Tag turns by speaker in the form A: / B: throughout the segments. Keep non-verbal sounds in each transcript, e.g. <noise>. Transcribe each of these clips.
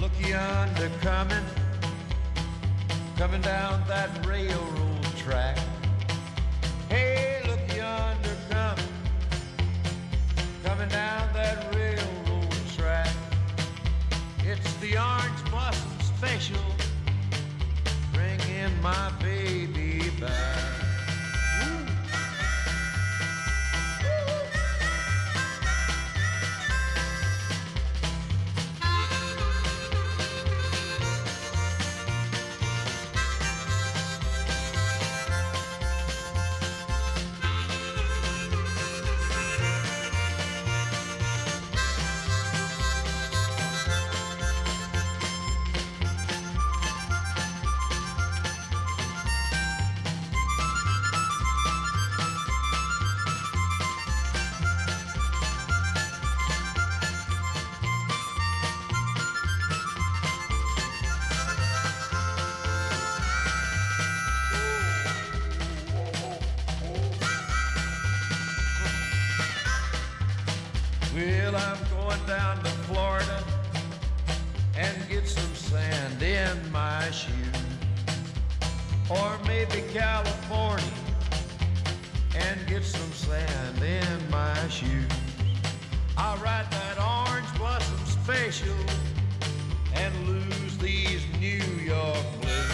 A: Looky yonder coming, coming down that railroad track. Hey, look yonder coming, coming down that railroad track. It's the orange blossom special, bringing my baby back. Well, I'm going down to Florida and get some sand in my shoe. Or maybe California and get some sand in my shoes. I'll ride that orange blossom special and lose these New York blues.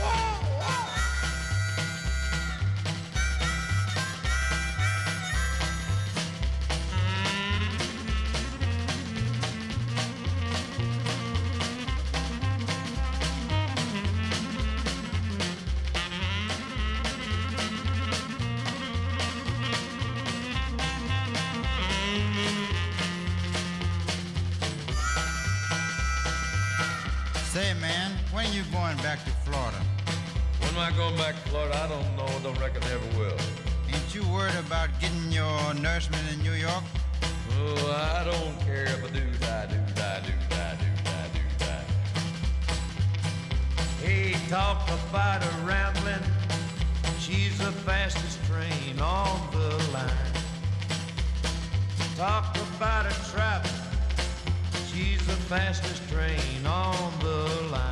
A: Whoa, whoa.
B: Say, man, when you going back to Florida?
A: When am I going back to Florida? I don't know. Don't reckon I ever will.
B: Ain't you worried about getting your nourishment in New York?
A: Oh, I don't care if I do die, do die, do die, do die, do die. Hey, talk about her rambling. She's the fastest train on the line. Talk about her travel. She's the fastest train on the line.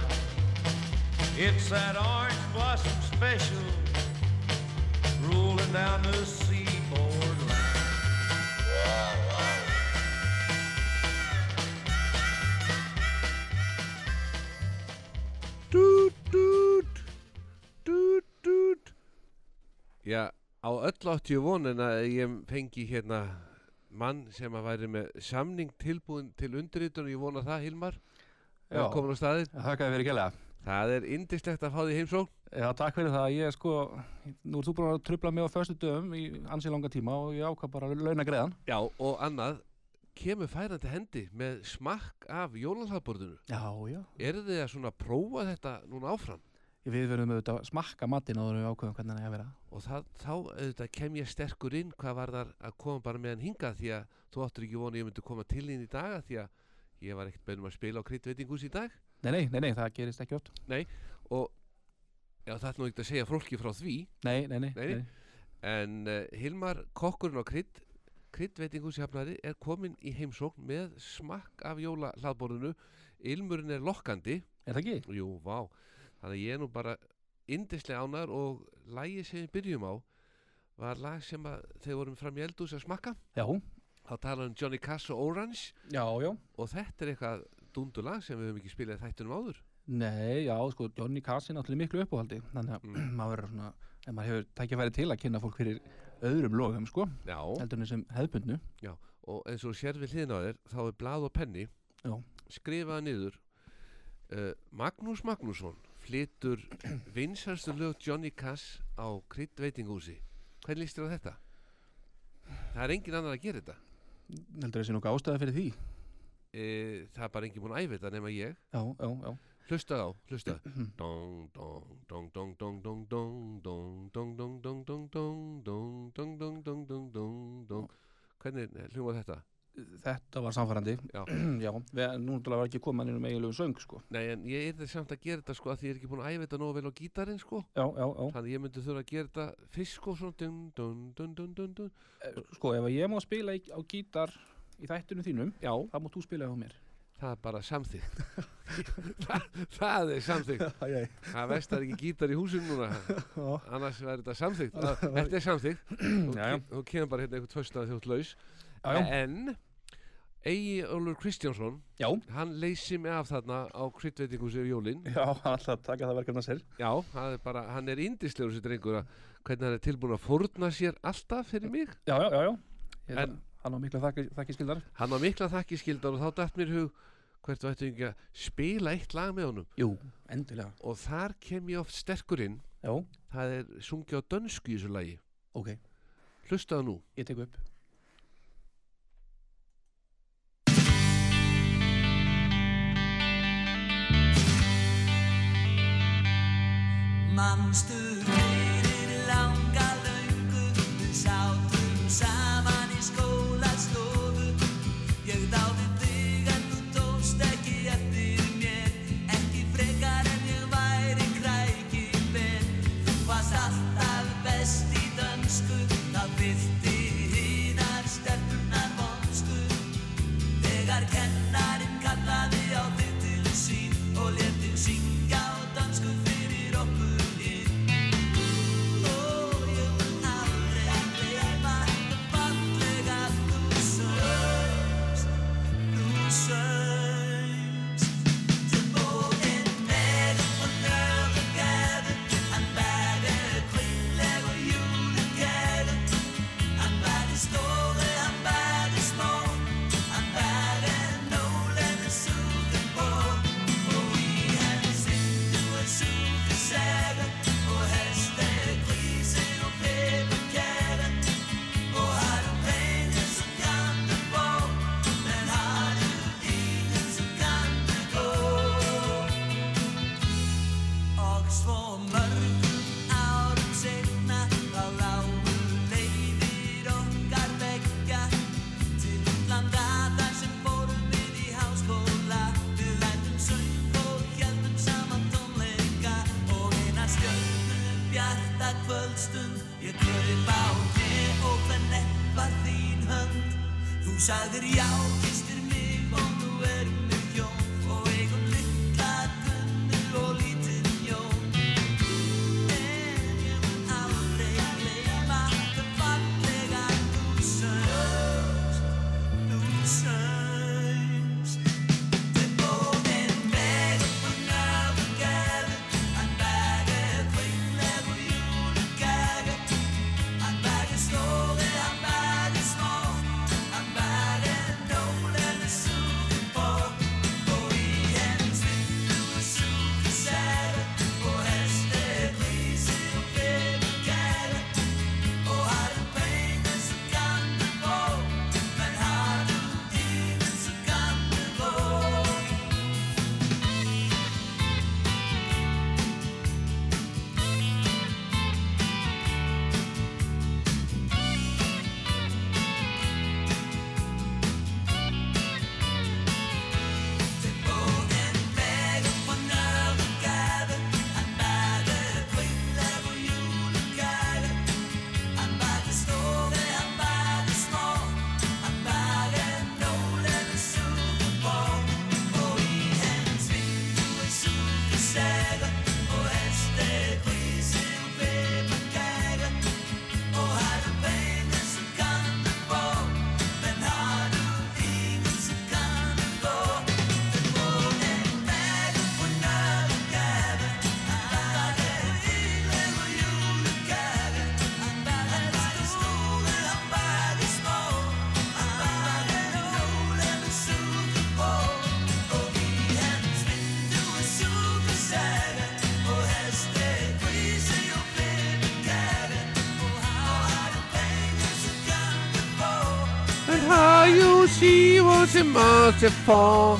A: It's that orange blossom special rolling down the seaboard line.
C: Dút, dút, dút, dút. Já, á öll átti ég vonin að ég fengi hérna mann sem að væri með samning tilbúin til undirritun og ég vona það, Hilmar,
D: Já.
C: er komin á staðið.
D: Þakka þér fyrir kjærlega.
C: Það er indislegt að fá því heimsókn.
D: Já, takk fyrir það. Ég er sko, nú ert þú búin að trubla mig á förstu dögum í ansi langa tíma og ég ákvað bara að launa Hérna greiðan.
C: Já, og annað, kemur færandi hendi með smakk af jólalhaðborðinu.
D: Já, já.
C: Eru þið að svona prófa þetta núna áfram?
D: Við verðum auðvitað að smakka matinn áður en við ákveðum hvernig það er að vera.
C: Og það, þá auðvitað, kem ég sterkur inn hvað var þar að koma bara með hann hingað því að þú áttur ekki vona að ég myndi koma til þín í dag af því að ég var ekkert beinum að spila á kritveitingus í dag
D: Nei, nei, nei, nei, það gerist ekki oft.
C: og já, það er nú ekkert að segja fólki frá því
D: Nei, nei, nei.
C: Nei, nei. en uh, Hilmar Kokkurinn á krit kritveitingus í hafnari er komin í heimsókn með smakk af jóla hlaðborðinu Ilmurinn er lokkandi
D: Er það ekki?
C: Jú, vá, þannig að ég er nú bara indislega ánar og lagið sem við byrjum á var lag sem að þegar vorum fram í eldús að smakka
D: Já.
C: þá talaðum um Johnny Cass og Orange
D: Já, já.
C: og þetta er eitthvað dundulag sem við höfum ekki spilað í þættunum áður
D: Nei, já, sko, Johnny Cass er náttúrulega í miklu uppáhaldi. Þannig að
C: Mm.
D: <clears throat> maður verður svona, ef maður hefur tækifæri til að kynna fólk fyrir öðrum logum, sko,
C: Já,
D: heldur en þessum hefðbundnu.
C: og eins og sér við hliðin á þér þá er blað og penni
D: Já.
C: skrifaða niður uh, Magnús Magnússon flytur <clears throat> vinsarstu lög Johnny Cass á kritveitingúsi Hvernig líst þér á þetta? Það er engin annar að gera þetta
D: Heldur þessi nokkuð ástæða fyrir því?
C: e, það er bara enginn búin að æfa þetta nema ég
D: Já, já, já.
C: hlusta á, hlusta dong, dong, dong, dong, dong, dong, dong dong, dong, dong, dong, dong, dong dong, dong, dong, dong, dong, dong, dong hvernig eh, hljómar þetta?
D: Þetta var samfærandi
C: Já.
D: <clears throat> Já, við, nú náttúrulega var ekki komað nýjum eiginlegu söng sko.
C: Nei, en ég er það samt að gera þetta sko að því ég er ekki búin að æfa þetta nógu vel á gítarinn sko
D: Já, já, já
C: þannig að ég myndi þurfa að gera þetta fyrst sko svona dun, dun, dun, dun, dun, dun
D: Eh, Sko, ef ég má spila í, á gítar í þættinu þínum
C: Já,
D: þá mátt þú spila á mér
C: það er bara samþygt <laughs> það, það er samþygt
D: <laughs> Æ, æ,
C: það vestar ekki gítar í húsinu núna
D: já.
C: annars verður þetta samþygt þetta er samþygt Þú
E: Já, já.
C: ke- þú kemur bara hérna eitthvað tvöstað þjótt laus
E: Já, já.
C: en Egi Ólfur Kristjánsson
D: já,
C: hann leysi mig af þarna á kryddveitingus yfir jólin
D: já, hann ætlaði að taka það verkefna sér
C: já, hann er bara, hann er indislegur sér drengur að hvernig hann er tilbúin að fórna sér alltaf fyrir mig
D: Já, já, já, já,
E: Ég-
C: En-
E: hann á mikla þakki, þakki skildar
C: hann á mikla þakki skildar og þá dætt mér í hug hvert þú ættu ekki að spila eitt lag með honum
E: Jú, endilega
C: og þar kem ég oft sterkur inn
D: já,
C: það er sungið á dönsku í þessu lagi
D: ok,
C: hlustaðu nú
D: ég tek upp
F: Manstu fyrir langa löngu Við sátum saman í skólastofu Ég dáði þig en þú tókst ekki eftir mér Ekki frekar en ég væri kræki með Þú varst alltaf best í dönsku Það vilti hinar stefnunar vonsku Þegar kennarinn kallaði á þig til sín og let þig syngja á dansku fyrir okkur hinn. Ó, ég mun aldrei gleyma fallega þú söngst, þú söngst. Til bókin með og nöfn gefur, hann verður kvinnleg og júlin gefur. Hann verður stóri, hann verður smó Hann verður nólegur súgur bó Og í henni syndu er súgur segur Og hestir grísir og pipur kærar Og hann reynir sem kannur bó Men hann er ingen sem kannur bó Og svo mörgum árum segna þá lágu leiðir okkar vekja til útlanda þar sem fórum við í háskóla. Við lærdum söng og héldum saman tónleika og eina stjörnum bjarta kvöldstund. Ég kraup á þig og fennett var þín hönd. Þú sagðir já, kistir mig og nú erum við hjón og eigum litla gunnu og lítinn jón. Eh, En ég mun aldrei gleyma þau fallega þú sögst, þú sögst. Þau bóðin veg og nöfn gefur, hann verður kvingleg og júlin gefur. Hann verður stóri, hann verður smó Hann verður nólegur súgur bó Og í henni svindur súgur særa Og hestir hlýsir og fyrir gæra Og harður beinir sem kannur bó Men harður dýnir sem kannur bó Og hestir hlýsir og pipar gæra og harður beinir sem kannur bó menn harður ígur sem kannur bó þau bóðir veg og nöfn gefur það er íleg og júlu gefur hann verður stóri, hann verður smó hann verður nólegur súgur bó og í henns vindu er súgur segur og hestir hlýsir og pipar gæra og harður beinir sem kannur bó
C: And how you see what you must fall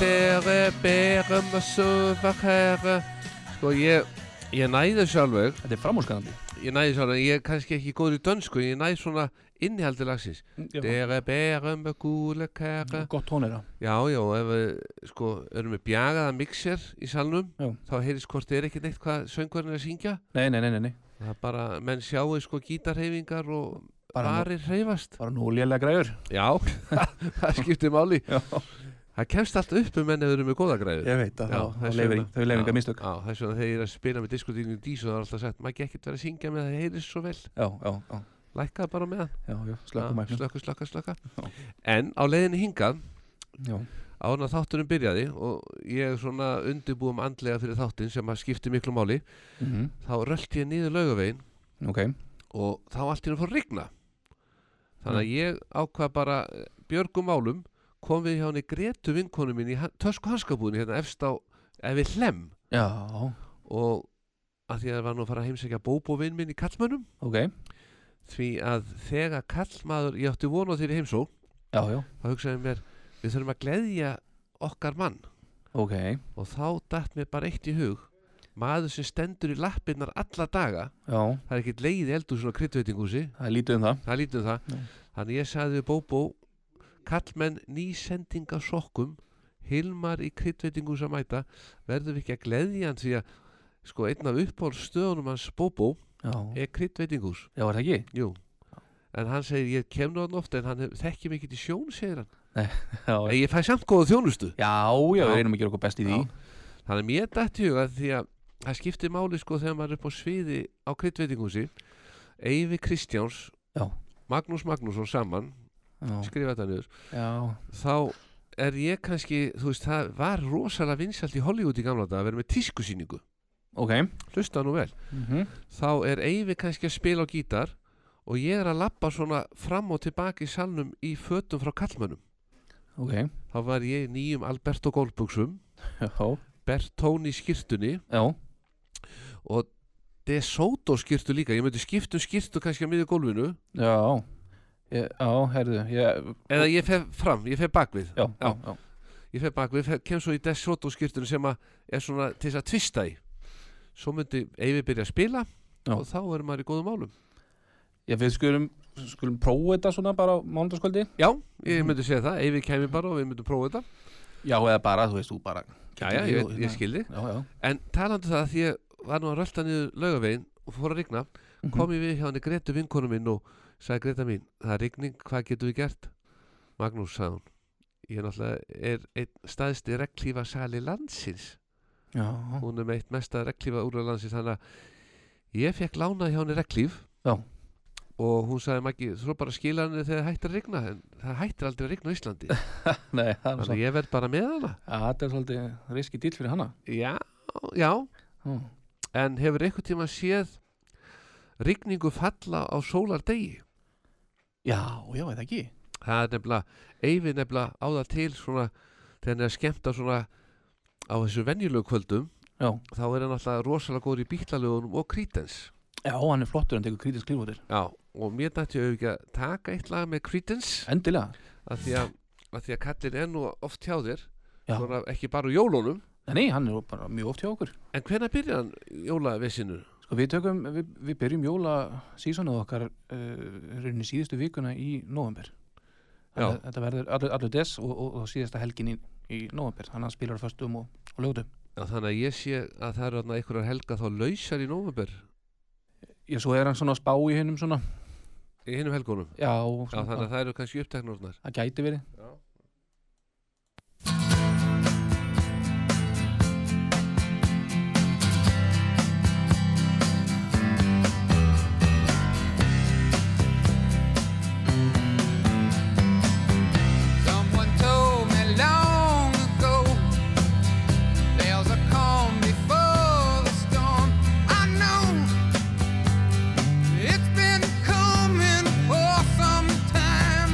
C: Dere berum að söfa herre Sko ég, ég næði þessu alveg
E: Þetta er framúrskanandi
C: Ég næði þessu alveg, ég er kannski ekki góður í dönsku en Ég næði svona innihaldi lagsins Dere berum að gúle herre
E: Gott tónera
C: Já, já, ef við sko erum við bjagaða mixer í salnum
E: Já.
C: þá heyrðis hvort þið er ekkert neitt hvað söngvarinn er að syngja
E: Nei, nei, nei, nei, nei.
C: það er bara, menn sjáu sko gítarhefingar og
E: Bara,
C: barir hreyfast <laughs>
E: bara nú lélega græður
C: Já, það skiptir máli
E: Já,
C: það kemst allt upp um enn ef við erum með góða græður
D: Ég veit að
C: Já,
D: þá-
C: þess
D: þá leifir
C: vegna-
D: þau leifir enga mistök
C: Já, það er svona þegar ég er að spila með diskotíkinu Dísu það er alltaf sagt, maður ekki verið að syngja með það heyrðist svo vel,
D: Já, já, já,
C: lækkaði bara með það
D: já, já slökkum mæknum
C: slökka, slökka, slökka
D: Já.
C: En á leiðinni hingað,
D: Já,
C: áður en að þátturinn byrjaði og ég er svona undirbúum andlega fyrir þáttinn sem að skipti miklu máli
D: mhm,
C: þá rölti ég niður laugavegin
D: ok
C: og þá allt í enn fór að rigna þannig að ég ákvað bara eh, björgum málum kom við hjá henni Gretu vinkonu mín í tösku hanskabúðinu hérna efst á, ef við hlem
D: Já,
C: og að því að það var nú að fara að heimsækja bóbóvinn minn í kallmönnum
D: ok
C: því að þegar kallmaður, ég átti vona þér í heimsó
D: Já, já,
C: þá hugsaði ég mér, við þurfum að gleðja okkar mann
D: ok
C: og þá datt mér bara eitt í hug maður sem stendur í lappirnar alla daga
D: Já,
C: það er ekkert leið eldur svona kryddveitingúsi
D: það er lítið um það
C: það lítum það
D: Já.
C: þannig ég sagði við bóbó kallmenn nýsendinga sokkum Hilmar í kryddveitingúsa mæta verðum við ekki að gleðja hann því að sko einn af uppáhaldsstöðunum hans bóbó
D: Já,
C: er kryddveitingús
D: já, er það ekki?
C: Jú En hann segir, ég kem nú hann ofta en hann hef- þekkir mig ekki til sjón, segir hann.
D: Já,
C: En ég fæ samt góða þjónustu.
D: já, já,
C: Já.
D: við reynum að gera okkur best í því
C: Já. Þannig að mér dætt í huga því að það skiptir máli sko þegar maður er upp á sviði á kryddveitingúsi. Eyvi Kristjáns,
D: Já.
C: Magnús Magnússon saman,
D: Já,
C: skrifa þetta niður.
D: já,
C: Þá er ég kannski, þú veist, það var rosalega vinsalt í Hollywood í gamla dag að vera með tískusýningu.
D: ok
C: Hlusta nú vel.
D: mhm,
C: Þá er Eyvi kannski að spila á gítar og ég er að labba svona fram og tilbaki í salnum í fötum frá kallmönnum.
D: Ok,
C: þá var ég í nýjum Alberto Golbuxum
D: <laughs> já,
C: Bertóni skýrtunni
D: já,
C: og De Soto skýrtu líka ég myndi skiptu skýrtu kannski á miðju gólfinu
D: já Ég- Já, herðu, ég
C: eða ég fer fram, ég fer bakvið
D: Já, já,
C: Já.
D: já,
C: ég fer bakvið, fer, kem svo í De Soto skýrtunni sem að er svona til þess að tvista í svo myndi Eyvi byrja að spila
D: Já.
C: og þá erum maður í góðum málum
D: Já, við skulum, skulum prófa þetta svona bara á mánudagskvöldi
C: já, ég myndi segja það, Eyvi kæmi bara og við myndum prófa þetta
D: Já, eða bara, þú veist, þú bara
C: já, já, ég, ég skildi
D: hérna. Já, já,
C: en talandi um það því ég var nú að rölda niður laugavegin og fór að rigna
D: Mhm.
C: kom ég við hjá henni Gretu vinkonu minn og sagði Greta mín, það er rigning, hvað getum við gert? Magnús sagði hún ég er náttúrulega er einn staðsti reglífa sali landsins
D: já,
C: hún er með eitt mesta reglífa úr landsins þannig að ég fekk lánað hjá henni reglíf
D: Já.
C: og hún sagði Maggi, þú bara skila henni þegar það hættir að rigna en það hættir aldrei að rigna á Íslandi
D: <laughs> nei, það er nú
C: þannig
D: svo
C: að ég verð bara með hana
D: Já, þetta er svolítið riski dýl fyrir hana
C: já, já,
D: Já,
C: en hefur einhvern tíma séð rigningu falla á sólardegi
D: já, já, eða ekki
C: það er nefnilega, Eyvi nefnilega á það til svona, þegar hann er að skemmta svona á þessu venjulegu kvöldum
D: Já,
C: þá er hann alltaf rosalega góður í bíklarlegunum og Creedence
D: já, hann er flottur en tekur krítisk klífótir
C: já, og mér dætti ég ekki að taka eitt lag með Creedence
D: Endilega
C: af því að, af því að kallin er nú oft hjá þér
D: Já,
C: svona, ekki bara úr jólunum
D: nei, hann er bara mjög oft hjá okkur
C: en hvenær byrjar hann jólavesinu?
D: Sko, við tökum, við, við byrjum jóla sísonið okkar uh, rauninni síðustu vikuna í november
C: Já.
D: Þannig að Þetta verður allur, allur des og, og, og síðasta helgin í, í november Þannig að hann spilar föstum og, og lögutum
C: Já, þannig að ég sé að það eru þarna einhverjar helga þá lausar í nómumber
D: Já, svo er hann svona að spá í hinnum svona
C: í hinum helgunum
D: Já,
C: já,
D: svona,
C: þannig að það eru kannski uppteknurnar
D: það gæti verið
F: Someone told me long ago there's a calm before the storm. I know it's been coming for some time.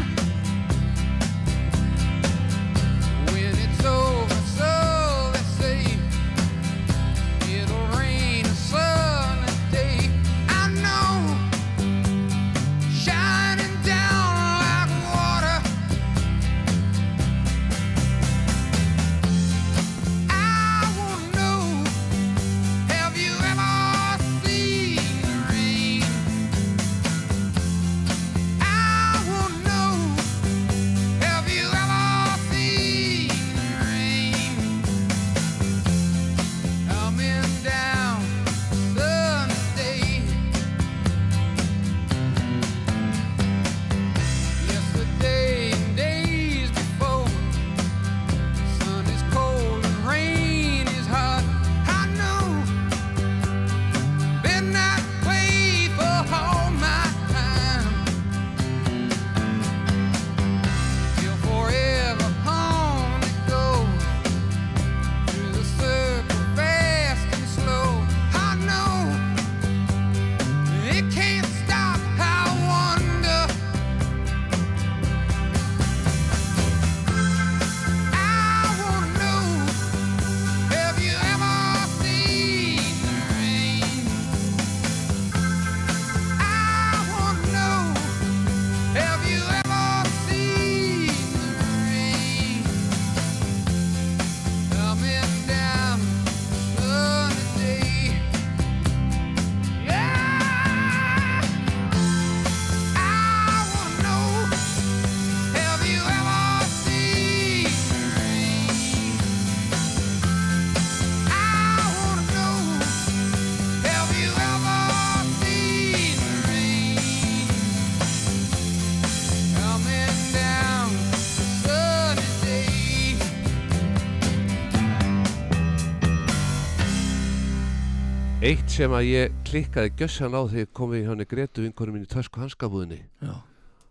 C: Eitt sem að ég klikkaði gjössan á þegar komið í hann Gretu vinkonum minni í tösku hanskabúðinni
D: Já.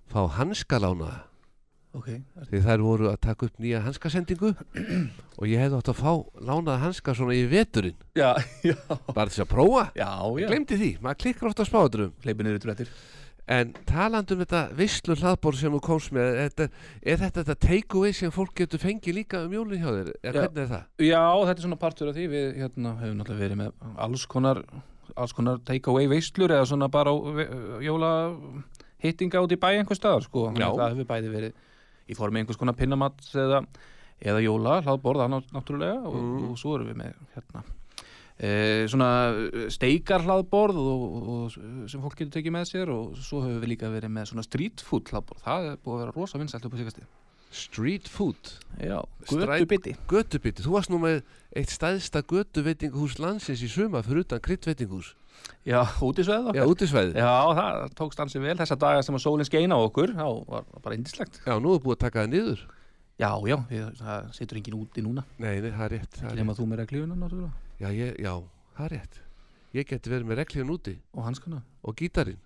C: fá hanskalánaða
D: ok,
C: því þær voru að taka upp nýja hanskasendingu og ég hefði átt að fá lánaða hanska svona í veturinn
D: já, já,
C: bara þess að prófa,
D: já,
C: ég
D: já.
C: glemdi því maður klikkar ofta á smáðurum
D: hleypinir yfir drættir
C: en talandum þetta visslu hlaðbór sem þú komst með þetta, er þetta þetta take-away sem fólk getur fengið líka um jólin hjá þér eða
D: Já.
C: hvernig er það?
D: já, þetta er svona partur af því við hérna, hefum náttúrulega verið með alls konar alls konar take-away veislur eða svona bara á ve- jóla hittinga út í bæ einhver staðar sko.
C: Já.
D: það hefur bæði verið í formi einhvers konar pinnamats eða, eða jóla, hlaðborða ná, náttúrulega og,
C: Mm.
D: og svo erum við með hérna Eh, svona steikar hlaðborð og, og, sem fólk getur tekið með sér og svo höfum við líka verið með svona street food hlaðborð, það er búið að vera rosa vinsælt upp á síkasti
C: Street food,
D: Já,
C: Stræt-
D: götubiti
C: götubiti þú varst nú með eitt stæðsta götuveitinguhús landsins í suma fyrir utan kryddveitinguhús
D: Já, útisveð
C: Já,
D: okkar
C: útisvæði
D: Já, það tókst ansi vel þessa daga sem að sólinn skein á okkur þá var það bara indislegt
C: Já, nú er búið að taka það niður
D: Já, já, við, það situr enginn úti núna
C: Nei, nei, það er rétt, það er rétt.
D: nema þú með reglífuna náttúrulega
C: Já, ég, já, það er rétt Ég geti verið með reglíðan úti
D: og hanskana
C: og gítarinn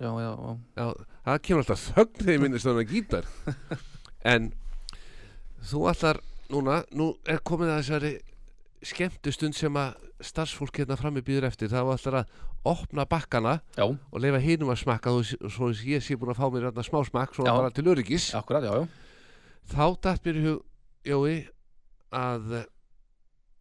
D: Já, já, já,
C: Já, það kemur alltaf þögn þegar ég minnist þannig
D: <laughs>
C: að gítar En þú allar núna, nú er komið að þessari skemmtustund sem að starfsfólk hérna frammi býður eftir það var allar að opna bakkana
D: já,
C: og leifa hinum að smakka þú, sé- svo þess ég sé búin að fá mér hérna smá smakk svona
D: Já.
C: bara til öryggis
D: akkurat, já, já
C: þá datt mér í hug Jói að eh,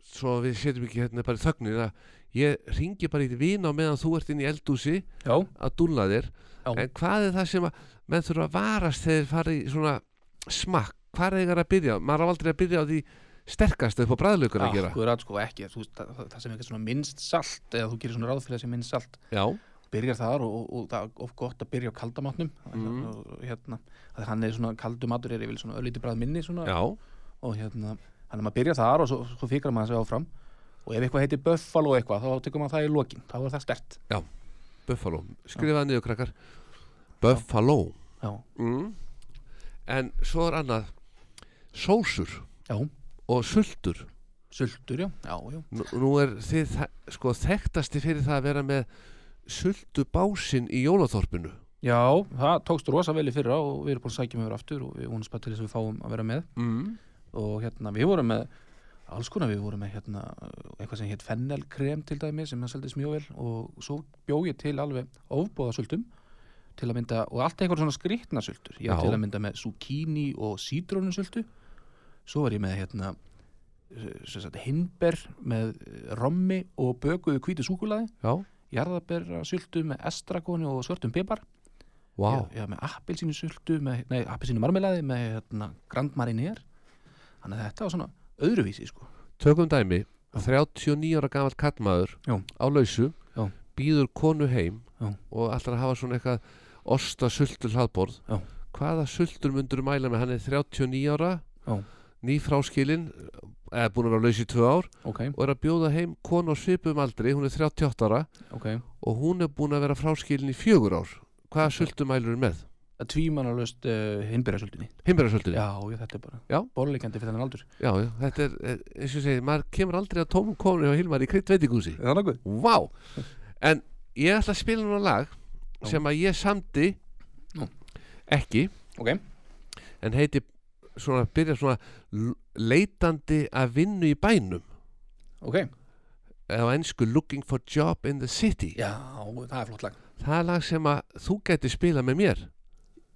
C: svo við setjum ekki hérna bara í þögnin að ég ringi bara í vina á meðan þú ert inn í eldhúsi
D: Já,
C: að dúlla þér
D: Já.
C: en hvað er það sem að menn þurfa að varast þegar þeir fara í svona smakk, hvað er þeir að byrja á? maður á aldrei að byrja á því sterkast upp á bræðlökur að gera
D: akkurat, sko, ekki þú, veist, það, það sem ekki svona minnst salt eða þú gerir svona ráð fyrir þessi minnst salt
C: já,
D: byrjar þar og, og, og það er of gott að byrja á kaldamátnum
C: Mm.
D: og, hérna, að hann er svona kaldumatur er yfir svona öllítið bræð minni svona
C: já,
D: og hérna, hann er maður að byrja þar og svo, svo fikrar maður sig áfram og ef eitthvað heitir Buffalo eitthvað, þá tekur maður það í lokin þá er það stert
C: Buffalo skrifaði niður krakkar Buffalo
D: já,
C: mm. en svo er annað sósur
D: já,
C: og sultur
D: sultur, já, já, já,
C: Nú- Nú er þið þa- sko þekktasti fyrir það að vera með suldubásinn í jólaþorpinu.
D: já það tókst rosa vel í fyrra og við erum búin að sækja með þér aftur og við vonum spætt til þess að við fáum að vera með
C: Mm.
D: og hérna, við vorum með alls konar, við vorum með hérna eitthvað sem hétt fennelkrem til dæmi sem hann seldist mjög vel og svo bjó ég til alveg ofbóða sultum til að mynda, og allt eitthvað svona skrýtna sultur ég
C: Já.
D: var til að mynda með zucchini og sítrónun sultu svo var ég með hérna eh, sem sagt, hindber með eh, rommi og bökuðu hvítu súkulaði
C: Já,
D: jarðaberra sultu með estragoni og svörtum pipar
C: vá,
D: ég, ég var með appelsínu sultu með, nei, appelsínu marmelaði með hérna, Grand Marinier þannig að þetta var svona öðruvísi sko.
C: tökum dæmi, 39 ára gamall kallmaður
D: Já.
C: á lausu,
D: Já.
C: býður konu heim
D: Já.
C: og ætlar að hafa svona eitthvað osta sultur hlaðborð.
D: Já.
C: Hvaða sultur myndur mæla með? Hann er 39 ára,
D: Já.
C: ný fráskilin, eða búin að vera á lausu í tvö ár
D: ok,
C: og er að bjóða heim konu á svipum aldri, hún er 38 ára
D: ok
C: og hún er búin að vera fráskilin í fjögur ár. Hvaða sultumælur er með?
D: að tvímanalöst uh, hinnbyrja sultunni
C: Himberarsöldinni?
D: já, ég, þetta er bara
C: Já.
D: borleikandi fyrir þennan aldur
C: Já, já, þetta er, eh, eins og ég segi, maður kemur aldrei að tómum konur hjá Hilmar í krydd veitingúsi.
D: það er nokkuð
C: Vá! En ég ætla að spila núna lag
D: Já.
C: sem að ég samdi
D: Nú.
C: ekki,
D: ok,
C: en heiti svona, byrja svona l- leitandi að vinnu í bænum
D: ok
C: eða á ennsku Looking for Job in the City.
D: já, það er flott lag
C: Það er lag sem að þú gæti spilað með mér.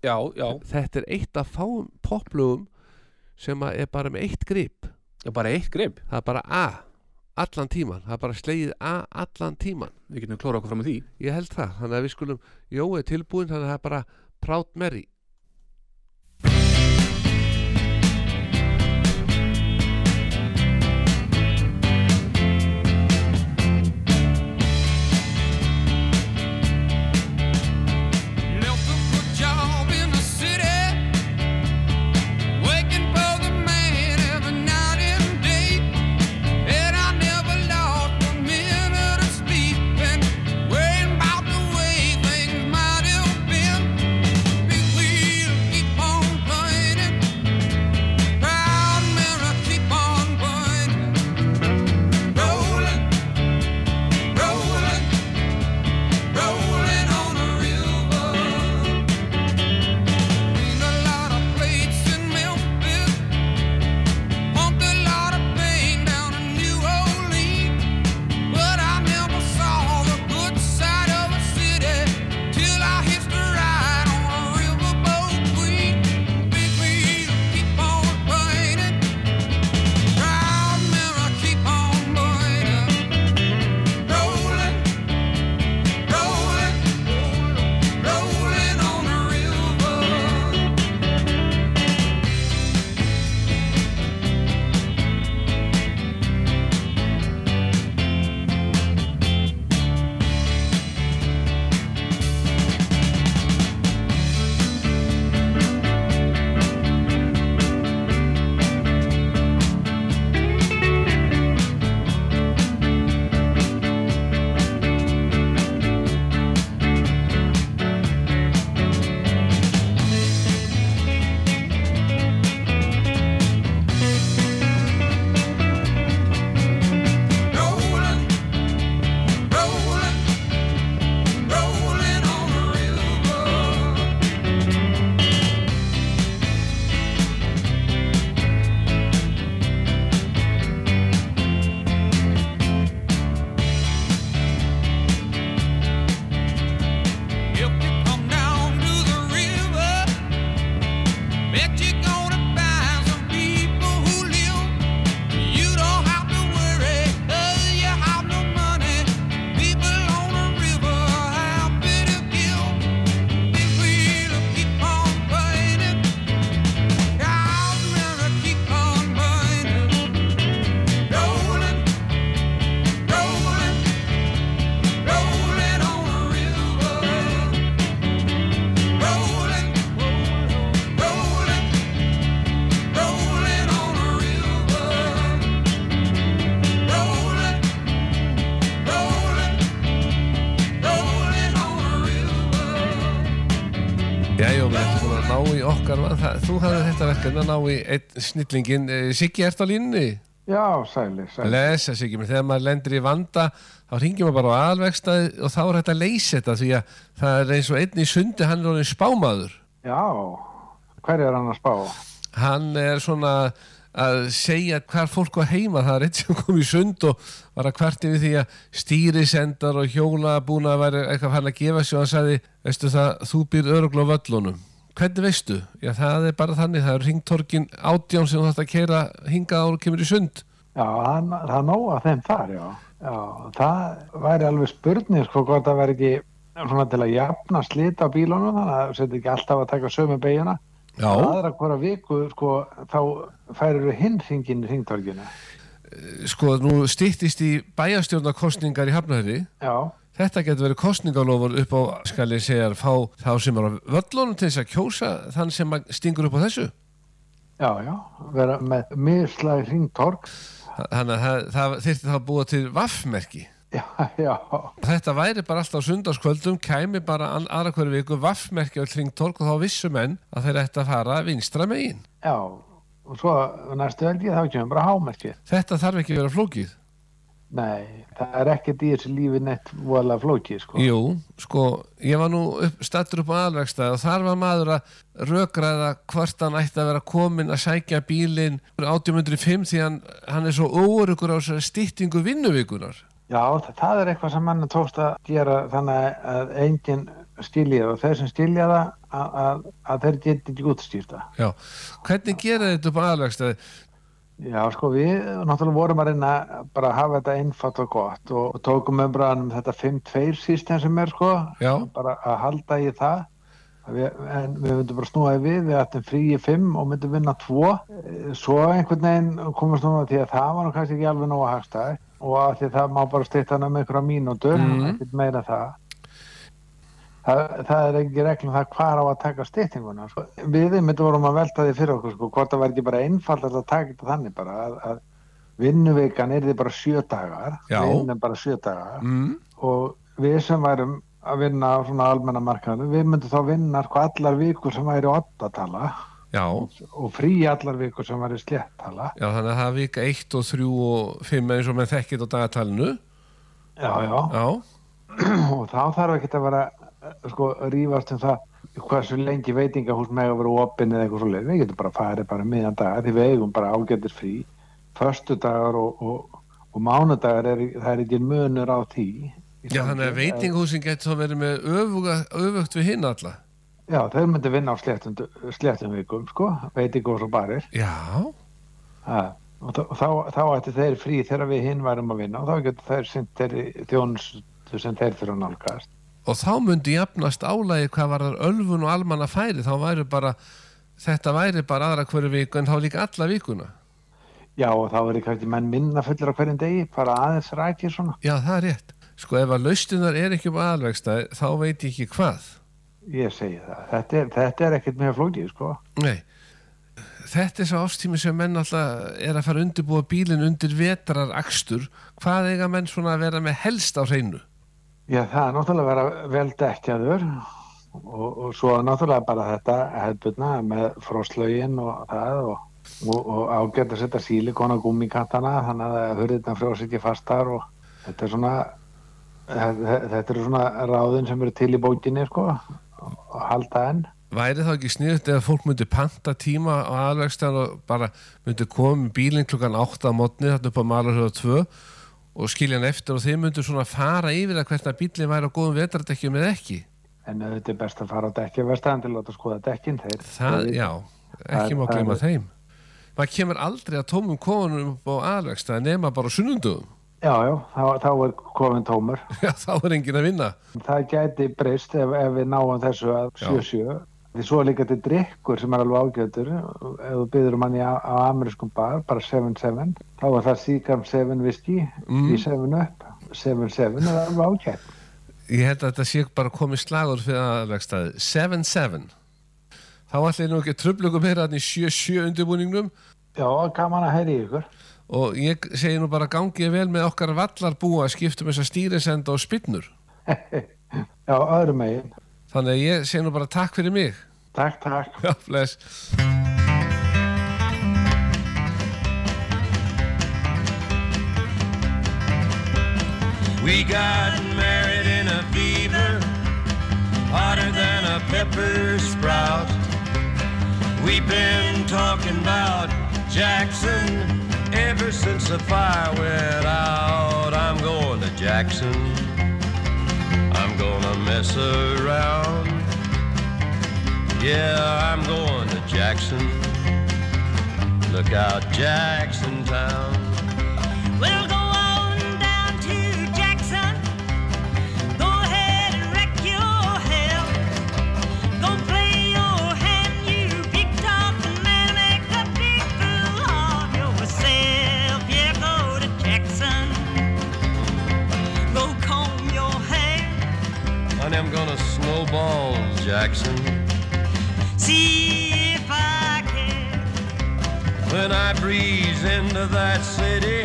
D: já, já,
C: Þetta er eitt af fáum poplugum sem að er bara með eitt grip.
D: já, bara eitt grip
C: Það er bara A, allan tíman. Það er bara slegið A allan tíman.
D: við getum klóra okkur fram með því
C: Ég held það, þannig að við skulum Jói er tilbúin, þannig að það er bara Proud Mary
F: Looking for a job in the city, working for the man every night and day, and I never lost a minute of sleeping, worrying 'bout the way things might have been if we
C: í okkar það, þú hafði þetta verkefni að ná í einn snillingin Siggi, ert á línni?
G: Já, sæli, sæli.
C: Lesa Siggi, menn þegar maður lendir í vanda þá ringjum maður bara á alvegstaði og þá er þetta að leysa þetta því að það er eins og einn í sundi hann er orðin spámaður
G: Já, hver er hann að spá?
C: hann er svona að segja hvar fólk var heima það er eitt sem kom í sund og var að kvarti við því að stýrisendar og hjóla búin að vera eitthvað hann að gefa sig og hann sagði, veistu það, þú býr örugl á völlunum hvernig veistu? Já það er bara þannig, það er ringtorkin átján sem þú þarft að keira hingað ára kemur í sund
G: Já, hann, það nóga þeim þar, já. Já, það væri alveg spurning, sko, hvort það væri ekki svona til að jafna slita á bílunum, þannig að setja ekki alltaf að taka sömu beigina. Aðra hvora viku, sko, þá færir við hinn hringin í hringtorginu.
C: sko nú stýttist í bæjarstjórnarkostningar í Hafnarri
G: Já,
C: Þetta getur verið kostningalofur upp á, skal ég segja, fá þá sem er á völlunum til þess að kjósa þann sem að stingur upp á þessu.
G: já, já, vera með mislæði hringtorg.
C: Þannig að það, það þyrfti þá að búa til vaffmerki.
G: Já, já,
C: Þetta væri bara alltaf sundarskvöldum, kæmi bara an- aðra hverju viku vaffmerki á hringtorg og þá vissu menn að þeir ætti að fara vinstra megin.
G: já. Og svo næstu helgi þá kemur bara hámerkið.
C: Þetta þarf ekki að vera flókið.
G: Nei, það er ekkert í þessu lífi neitt voðalega flókið, sko.
C: Jú, sko, ég var nú upp, stattur upp á aðvegstæði og þar var maður að rökraða hvort hann ætti að vera komin að sækja bílinn 1805 því hann, hann er svo óurugur á þessari stýttingu vinnuvíkunar.
G: Já, það, það er eitthvað sem mann tókst að gera þannig að enginn skilja það og þeir sem skilja það að, að, að þeir geti ekki útstýrt það.
C: Já, hvernig gera þetta upp á aðvegstæði?
G: Já, sko, við náttúrulega vorum að reyna bara að hafa þetta einfatt og gott og, og tókum umræðan um þetta 5-2 system sem er, sko,
C: Já,
G: bara að halda í það. Að Við, en við myndum bara snúaði við, við ættum frí í 5 og myndum vinna 2. Svo einhvern veginn komum snúaði því að það var nú kannski ekki alveg nógu að hagstaði og að því að það má bara stýta hann um einhverja mínútur,
C: Mhm.
G: ekkert meira en það. Það, það er ekki reglum það hvar á að taka styttinguna sko. við þeim þetta vorum að velta því fyrir okkur sko, hvort það var ekki bara einfalt að taka þetta þannig bara að, að vinnuvikan er bara sjö dagar
C: Já.
G: við vinnum bara sjö dagar
C: mm,
G: og við sem værum að vinna á svona almenna markaðinu við myndum þá vinna sko allar vikur sem væri oddatala
C: já,
G: og frí allar vikur sem væri sléttala
C: já, þannig að það er vika 1 og 3 og 5 eins og menn þekkið á dagatalinu.
G: já, já.
C: Já,
G: <clears throat> og þá þarf ekki að vera eh, sko rífast um það hversu lengi veitingahús með að vera opinn eða eitthvað svoleið, við getum bara farið bara miðan dag því við eigum bara ágættir frí föstudagar og, og, og mánudagar er, það er ekki munur á því
C: já þannig að veitinghúsin getur þá verið með öfuga, öfugt við hinn alla.
G: já, þeir myndi vinna á sléttum, sléttum vikum sko, veitingahús og barir
C: Já,
G: Ha, og þá, þá, þá ætti þeir frí þegar við hinn værum að vinna og þá getur þeir sinnt þeirri þjónustu sem þeir þurfa að nálgast
C: og þá myndi jafnast álægi hvað var þar ölfun og almanna færi þá væri bara, þetta væri bara aðra hverju viku en þá líka alla vikuna
G: já og þá er kannski menn minna fullir á hverjum degi bara aðeins rækir svona
C: já það er rétt sko ef að laustunar er ekki um aðalvegsta þá veit ég ekki hvað
G: Ég segi það. Þetta er, þetta er ekkert mjög flókið, sko.
C: nei þetta er svo ástími sem menn alltaf er að fara að undirbúa bílinn undir vetrar akstur hvað eiga menn svona að vera með helst á hreinu
G: Já, það er náttúrulega að vera vel dekkjaður og, og svo náttúrulega bara þetta hefðbundna með froslauginn og það og, og, og ágætt að setja sílikona gummikantana þannig að hurðirna frjóðs ekki fastar og þetta er svona þetta þetta eru svona ráðin sem eru til í bókinni, sko, og halda enn.
C: væri þá ekki sniðut ef fólk myndi panta tíma á aðalvegstaðan og bara myndi koma með bílinn klukkan 8 á mótni þarna upp á Malarhjóða 2 og skilja hann eftir og þeir myndu svona fara yfir að hvernig að bílinn væri á góðum vetardekkjum eða ekki
G: En auðvitað er best að fara á dekkjaverstaðan til að láta skoða dekkin þeir.
C: það, já, ekki
G: Það-
C: má
G: það
C: gleyma
G: er-
C: þeim maður kemur aldrei að tómum kofunum upp á aðalvegstaðan nema bara á sunnundum
G: Já, já, þá, þá er kofin tómur.
C: já, <laughs> þá er enginn að vinna
G: Það gæti breyst ef, ef við náum þessu að
C: Já.
G: 7-7. Því svo er líka til drikkur sem er alveg ágjöður. Ef þú um byrður manni á, á amerískum bar, bara 7-7, þá er það síkam 7 viski í 7 upp. 7-7 er alveg ágjöð.
C: ég held að þetta sé bara komið slagur fyrir aðalvegstaði 7-7 þá ætla ég nú ekki að tröflugum meira hann í 7-7 undirbúningnum
G: Já, gaman að heyri ykkur.
C: og ég segi nú bara gangið vel með okkar vallarbúa að skiptum þess að stýrisenda
G: <laughs>
C: og spinnur
G: Já, öðrum megin.
C: þannig að ég segi nú bara takk fyrir mig
G: Takk, takk.
H: Já, bless
I: We got married in a fever, hotter than a pepper sprout. We've been talking about Jackson ever since the fire went out. I'm going to Jackson. I'm gonna mess around. Yeah, I'm going to Jackson. Look out, Jackson Town.
J: We'll go on down to Jackson. Go ahead and wreck your hell. Go play your hand, you big top, and then make a big fool of yourself. Yeah, go to Jackson. Go comb your hair.
I: Honey, I'm gonna snowball Jackson.
J: See if I can.
I: When I breeze into that city,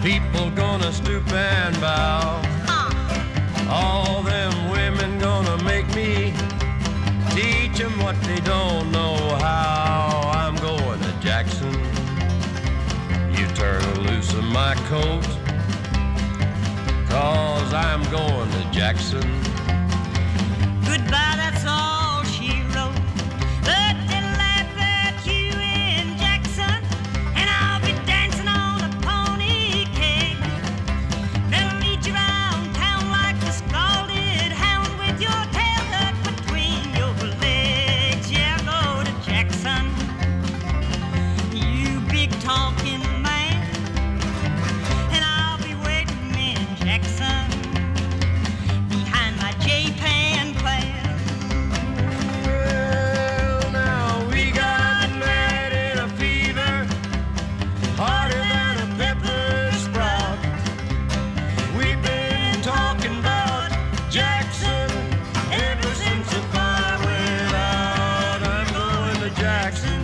I: people gonna stoop and bow. All them women gonna make me teach 'em what they don't know how. I'm going to Jackson. You turn loose of my coat, cause I'm going to Jackson.
J: Goodbye, that's all she wrote. But they'll laugh at you in Jackson, and I'll be dancing on a pony keg. They'll lead you round town like a scalded hound with your tail tucked between your legs. Yeah, go to Jackson, you big talking man, and I'll be waiting in Jackson behind my J-Pan plan.
I: Well, now we got mad in a fever, hotter than a pepper sprout. We've been talking about Jackson ever since the fire went out. I'm going to Jackson,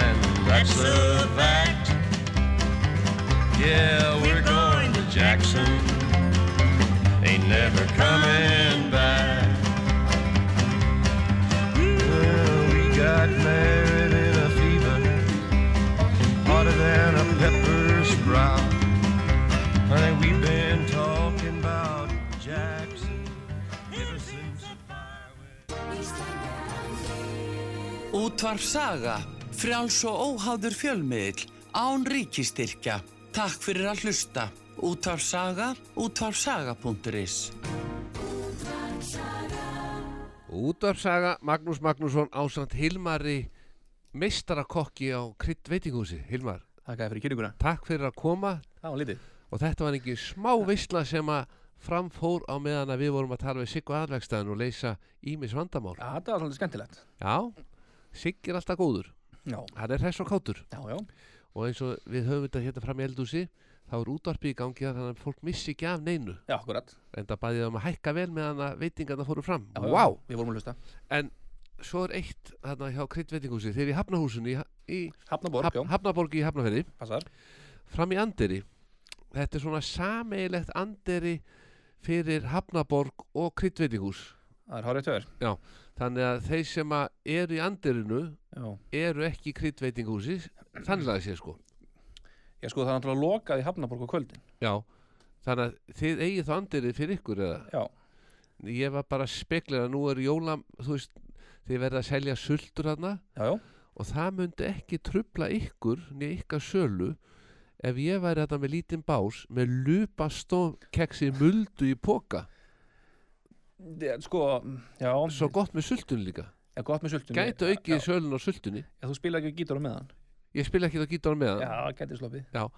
I: and that's a fact. Yeah, we're going to Jackson. Ain't never coming back. Well, we got married in a fever, hotter than a pepper sprout. Honey, we've been talking about Jackson ever since.
K: Útvarp Saga, frjáls og óháður fjölmiðill, án ríkistyrkja. Takk fyrir að hlusta. Útvarp Saga, útvarpsaga.is
C: Útvarpsaga Magnús Magnússon ásamt Hilmari meistarakokki á krydd veitingúsi. Hilmar,
D: Þakkaði fyrir kynninguna.
C: takk fyrir að koma
D: Það var lítið.
C: og þetta var engin smá veistla sem að framfór á meðan að við vorum að tala við Siggu aðvegstæðin og leysa Ímis vandamál.
D: Já, þetta var svolítið skemmtilegt.
C: Já, Sigg er alltaf góður.
D: Já,
C: Hann er hress og kátur
D: já, já.
C: og eins og við höfum þetta hérna fram í eldúsi þá er útvarpi í gangi þannig að fólk missi ekki af neinu.
D: Já, akkurat.
C: En það bæði um að hækka vel meðan að veitingarna fóru fram.
D: Já,
C: Vá!
D: já, Við vorum að hlusta.
C: Svo er eitt hérna hjá kryddveitingúsi þeir eru í Hafnahúsinu í, í
D: Hafnaborg,
C: Haf,
D: já.
C: Hafnaborg í Hafnafjörði
D: Passar.
C: fram í Anderi þetta er svona sameigilegt Anderi fyrir Hafnaborg og Kryddveitingús
D: Það er hárið tjóður.
C: þannig að þeir sem að eru í Anderinu
D: Já.
C: eru ekki í Kryddveitingúsi þannig að það sé sko
D: Ég sko það er náttúrulega lokað í Hafnaborg á kvöldin.
C: já þannig að þið eigið þá Anderi fyrir ykkur eða
D: Já.
C: ég var bara að spekla að nú er jóla þú veist þið verða að selja sultur þarna
D: Já, já.
C: og það myndi ekki trubla ykkur niður ykkar sölu ef ég væri þetta með lítinn bás með lupastón keksi muldu í póka
D: Þe- Sko, já.
C: svo gott með sultun líka
D: Er gott með sultunni.
C: gætu aukið sölun á sultunni
D: Ef þú spila ekki gítur á meðan.
C: ég spila ekki þá gítar með
D: Já,
C: það
D: gæti sloppið.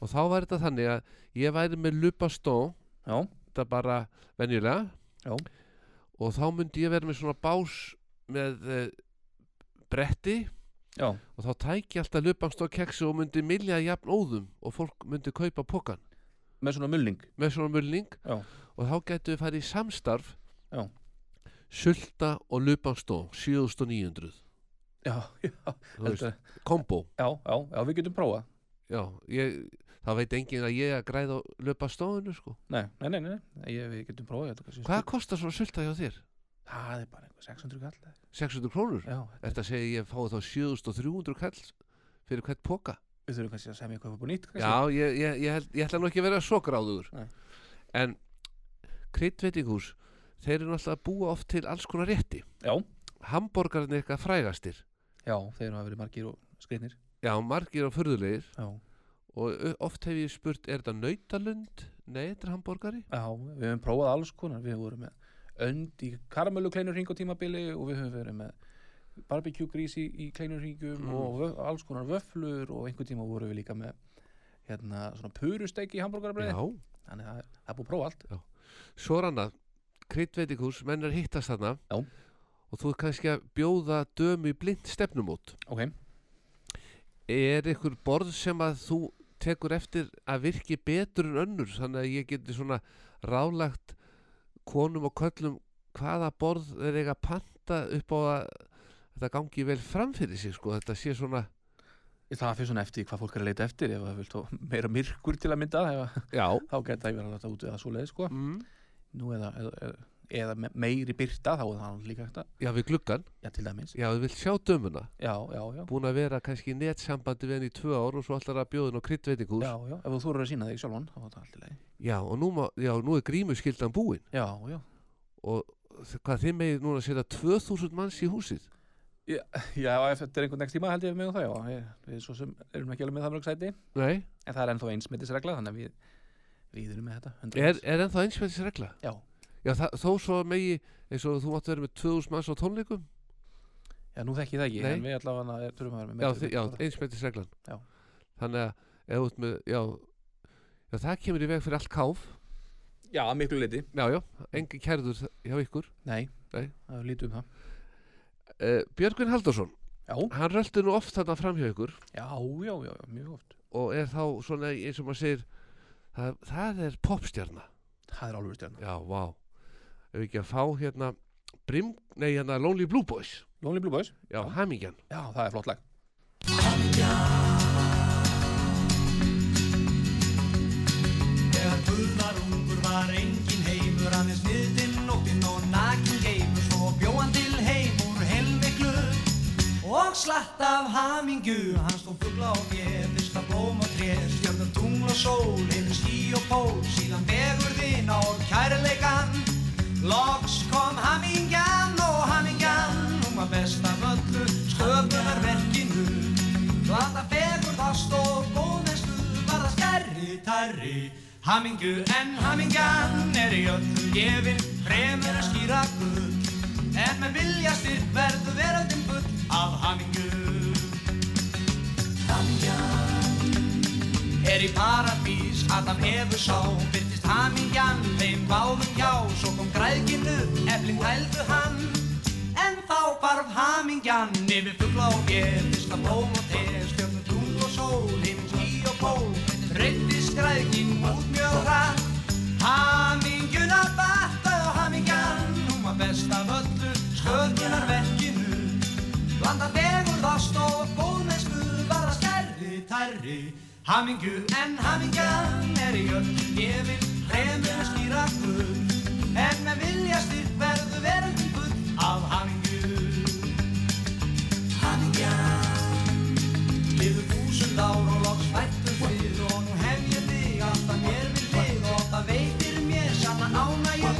C: og þá væri þetta þannig að ég væri með lupastón
D: Já.
C: þetta bara venjulega
D: Já.
C: og þá myndi ég vera með svona bás með eh, bretti
D: Já.
C: og þá tæki ég alltaf lupastón keksi og myndi milja jafn óðum og fólk myndi kaupa pókan
D: Með svona mulning.
C: með svona mulning
D: Já.
C: og þá gætu við farið í samstarf
D: Já.
C: Sulta og Lubanstó 7900
D: Já, já.
C: þú veist,
D: heldur-
C: kombo
D: Já, já, já, við getum prófað.
C: já, ég, það veit enginn að ég er að græða á Lubastóinu sko
D: Nei, nei, nei, nei, nei. Ég, við getum prófað. þetta kannski-
C: hvað kostar svona sulta hjá þér?
D: það er bara einhver 600 kall eða-
C: 600 krónur
D: já, þetta-
C: Þetta segi ég fái þá 7300 kall fyrir hvert póka
D: við þurfum kannski að semja eitthvað upp á nýtt kannski.
C: Já, ég, ég, ég, held, ég ætla nú ekki að vera svo gráðugur
D: Nei.
C: En kryddveitingús Þeir eru náttúrulega að búa oft til alls konar rétti
D: já,
C: Hamborgarnir eitthvað frægastir
D: já, þeir hafa verið margir og skriðnir
C: Já, margir og furðulegir
D: já,
C: Og ö- oft hef ég spurt, er þetta nautalund? Nei, þetta er hamborgari
D: já, við höfum prófað alls konar við vorum með önd í karamellukleinur hring á tímabili og við höfum verið með barbecue grís í, í kleinur hringum
C: Mm.
D: og vöf, alls konar vöflur og einhvern tíma vorum við líka með hérna svona purusteik í hambúrgarabreið
C: Já,
D: þannig að það það er búið að prófa allt
C: svo er annað kryddveitingús, menn er að hittast þarna
D: Já.
C: Og þú er kannski að bjóða dömu í blind stefnumót
D: ok,
C: Er einhver borð sem að þú tekur eftir að virki betur en önnur þannig að ég geti svona rálagt konum og köllum hvaða borð er eiga að panta upp á að þetta gangi vel fram fyrir sig sko, þetta sé svona
D: það fyrir svona eftir því hvað fólk er að leita eftir ef það vil tó meira myrkur til að mynda ef, að-
C: Já
D: <laughs> þá geta það verið að láta út við það svo leið sko.
C: mm.
D: nú eða, eða, eða, eða me- meiri byrta þá er það líka eftir
C: Já, við gluggan,
D: já, til dæmis,
C: já, þú vilt sjá dömuna
D: já, já, já
C: búin að vera kannski í netsambandi við henni í tvö ár og svo allar að bjóðin á kryddveitingús
D: Já, já, ef þú eru að sína þig sjálfan þá er það allt í lagi.
C: já, og nú, má, já, nú er grímuskyldan búin
D: Já, já.
C: og þ- hvað þið megið núna að setja 2000 manns í húsið
D: Já, ef þetta er einhvern veginn tíma held ég við mig og það, já. Við, við svo sem erum ekki alveg með það mörg sæti,
C: Nei,
D: en það er ennþá einsmittisregla, þannig að við, við erum með þetta. 100%.
C: er, er ennþá einsveitsregla
D: Já,
C: Já, þa- þó svo megi, eins og þú mátt vera með 2000 manns á tónleikum
D: já, nú þekki ég það ekki,
C: Nei.
D: en við allavega er- þurfum að vera með
C: Já,
D: metri-
C: þi- já einsmættisreglan
D: Já.
C: Þannig að, eða út með, já, já, það kemur í veg fyrir allt káf
D: já, að miklu liti.
C: Já, já, engi kærður þ- hjá ykkur
D: Nei,
C: Nei.
D: það er lítið um það.
C: uh, Björgvin Halldórsson,
D: Já,
C: hann röldi nú oft þarna fram hjá ykkur
D: já, já, já, já, mjög oft.
C: og er þá svona eins og maður segir það, það er popstjarna
D: Það er alveg stjórn.
C: Já, vá Ef ekki að fá hérna Brim, nei hérna Lonely Blue Boys
D: Lonely Blue Boys?
C: Já, já. hamingjan
D: Já, það er flott lag.
L: Þegar Guð var ungur var engin heimur aðeins miðdinn nóttinn og nakin geimur svo bjóðan til heim úr helviklu og slatt af hamingu hann stóð fugla og ég fyrsta blóm og tré stjörnur tungl og sól yfir ský og pól síðan vegur þinn á kærleikan Loks kom hamingjan og hamingjan hún var best af öllu sköpunarverkinu Glata fegur þást og góðmennsku var það stærri, tærri Hamingju en hamingjan er í öllu gefin fremur að skýra gull En með vilja styrk verður veröldin full af hamingju er í paradís Adam hefur sá byrtist hamingjan þeim báðum hjá svo kom græðkinu, eflin hældu hann en þá barf hamingjan yfir fugla og gerð diska blóm og te, stjörnum tungl og sól himn, ský og ból reyndist græðkin út mjög hratt hamingjuna batta og hamingjan hún var best af öllu sköðunarverkinu Blanda vegur ást og góðmennsku var það skærri, tærri Hamingju en hamingjan er í öll gefin Fremur að skýra gull En með vilja styrk verður veröldin gull af hamingju Hamingjan Liðu þúsund ár og loks fættum við og nú hef ég þig alltaf mér við þig og það veitir mér sama ánægju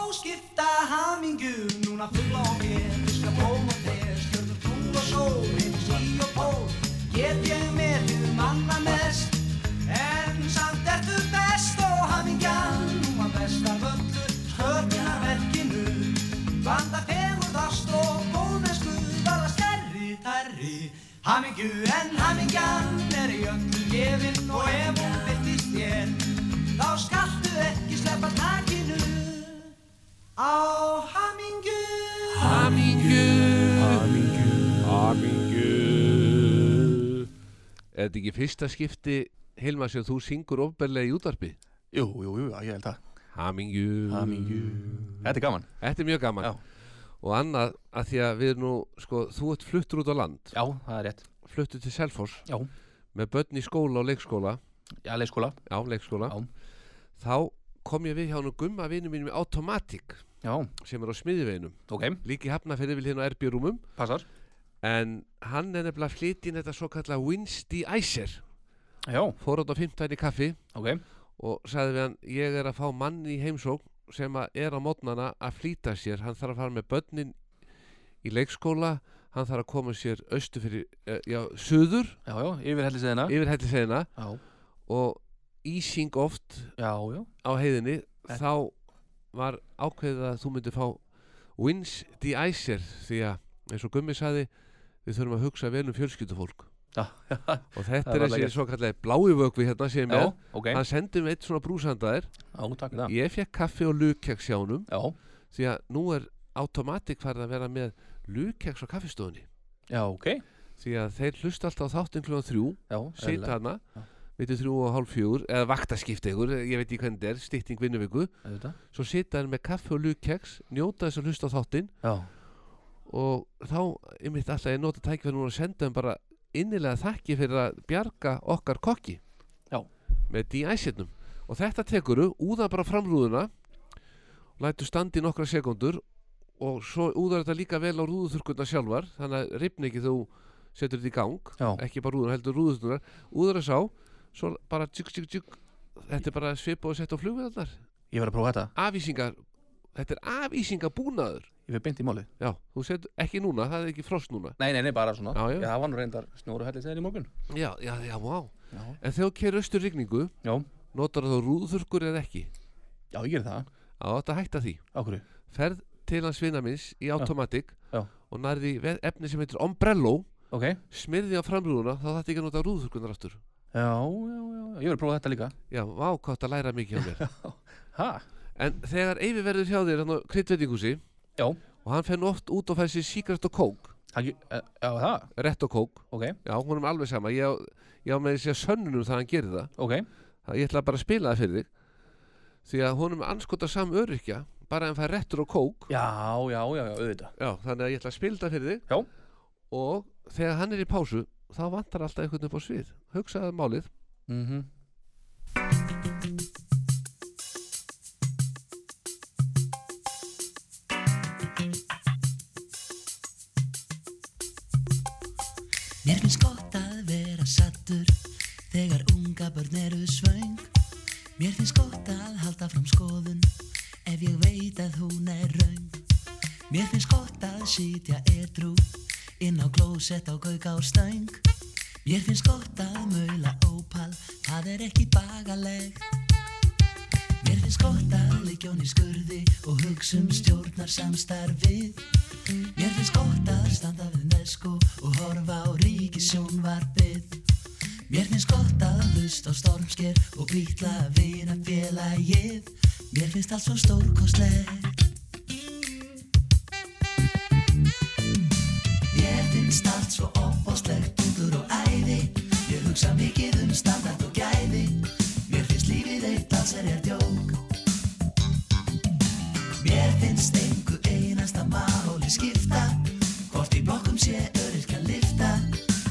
L: Óskipta hamingju, núna fulla á mér, diska blóm og te, stjörnum tungl og sól, heim ský og pól Get ég metið manna mest, en samt ertu best og hamingjan, nú að best af öllu, sköpunarverkinu Blanda fegurð, ást og góðmennsku var það stærri, tærri Hamingju en hamingjan er í öllu gefin og ef hún byrtist þér þá skaltu ekki sleppa takinu á hamingju
C: Er þetta ekki fyrsta skipti Hilma sem þú syngur ofberlega í útarpi?
D: Jú, jú, jú, já, ég held það.
C: Hamingju
D: Þetta er gaman.
C: Þetta er mjög gaman
D: Já.
C: Og annað að því að við erum nú sko, þú ert fluttur út á land
D: Já, það er rétt.
C: fluttur til Selfoss
D: Já.
C: með börn í skóla og leikskóla
D: Já, leikskóla.
C: já, leikskóla
D: Já.
C: þá kom ég við hjá nú gumma vinnu mínum í automatik
D: Já,
C: sem er á smiðiveginum
D: ok,
C: líki hafnafyrir vil hérna á RB rúmum
D: passar
C: en hann er nefnilega að flytja inn þetta svo kalla Winsti Æser
D: Já,
C: fór átt á 15 í kaffi
D: ok,
C: og sagði við hann ég er að fá mann í heimsókn sem að er á mótnana að flýta sér hann þarf að fara með börnin í leikskóla hann þarf að koma sér austu fyrir, eh, já, suður
D: já, já, yfirhelli segina
C: yfir hellisegina
D: Já,
C: og ísing oft
D: já, já,
C: á heiðinni
D: Þetta-
C: þá var ákveðið að þú myndir fá wins de-icer því að eins og Gummi saði við þurfum að hugsa vel um fjölskyldufólk
D: já, já,
C: og
D: <laughs>
C: þetta
D: Það
C: er
D: var
C: þessi
D: alveg
C: svo kallið blái vökvi hérna sem
D: já,
C: er
D: ok,
C: hann sendi mig eitt svona brúsandaðir
D: já, takk fyrir það
C: ég fekk kaffi og lukjaks hjá honum
D: Já,
C: því að nú er automatik farið að vera með lukjaks á kaffistofunni
D: já, ok,
C: því að þeir hlusta alltaf á þáttinn kljóðan þrjú
D: já,
C: sita
D: eðlilega,
C: hana
D: Já.
C: mittu þrjú og hálf fjúr eða vaktaskipti ykkur, ég veit ekki hvernig þetta er stýtting vinnuviku
D: auðvitað
C: svo sita hann með kaffi og lukjaks njóta þess að hlusta á þáttinn
D: Já,
C: og þá einmitt alltaf ég nota tækifæri núna að senda um bara innilega þakki fyrir að bjarga okkar kokki
D: Já.
C: með D-æsirnum og þetta tekuru, úða bara framrúðuna lætur standi í nokkra sekundur og svo úðar þetta líka vel á rúðuþurkunna sjálfar þannig að ripni ekki þú setur þetta í gang
D: já,
C: ekki bara rúðuna, heldur rúðuþurkunna úðar þess á, svo bara tjúk, tjúk, tjúk þetta er bara svipa og setta á flugvélarnar
D: ég verð að prófa þetta
C: afísingar, þetta er afísingabúnaður
D: Ég verð beint í máli
C: já, þú setur, ekki núna, það er ekki frost núna
D: Nei, nei, nei, bara svona
C: Já, já.
D: það var nú reyndar snjóru helli segina í morgun
C: já, já, já, vá
D: Já,
C: en þegar þú kerur austur rigningu,
D: já,
C: notar þú rúðþurkur eða ekki
D: já, ég gerði það
C: á þetta að hætta því,
D: Á hverju?
C: ferð til hans vinamins í automatic
D: Já.
C: og nærði ve- efni sem heitir ombrello
D: Ok,
C: smyrði á framrúðuna, þá þetta ekki að nota rúðþurkunar aftur
D: já, já, já, já, ég verð að prófa þetta líka
C: já, vá, hvað þetta læra mikið á mér
D: <laughs> Ha,
C: en þegar Eyvi verður hjá þér hann á kryddveitingúsi
D: já,
C: og hann fer nú oft út og fær sér síkrast og kók
D: það, eh, já, það,
C: rétt og kók,
D: ok,
C: já, hún er alveg sama ég á, ég á með þessi sönnunum það hann gerir það
D: ok
C: það ég ætla bara að spila það fyrir þig því að honum er anskota sam öryrkja bara en fær réttur og kók
D: Já, já, já, já, auðvitað
C: Já, þannig að ég ætla að spila það fyrir þig
D: Já.
C: og þegar hann er í pásu þá vantar alltaf einhvern upp á svið hugsaðu málið
D: mm
M: Mér finnst gott að vera sattur þegar unga börn eru svöng. Mér finnst gott að halda fram skoðun ef ég veit að hún er raung. Mér finnst gott að sitja edru inn á klósett á gauga og stöng. Mér finnst gott að maula ópal, það er ekki bagalegt. Mér finnst gott að liggja hún í skurði og hugsa um stjórnar samstarfið. Mér finnst gott að standa við nesku og horfa á ríkisjónvarpið. Mér finnst gott að hlusta á stormsker og býtla að vina félagið. Mér finnst allt svo stórkostlegt. Mér finnst allt svo opbóstlegt undur og æði. Ég hugsa mikið um standart og gæði. Mér finnst lífið eitt alls er ég djók. Mér finnst einhver einasta máli skipta Hvort í blokkum sé öryrkja lifta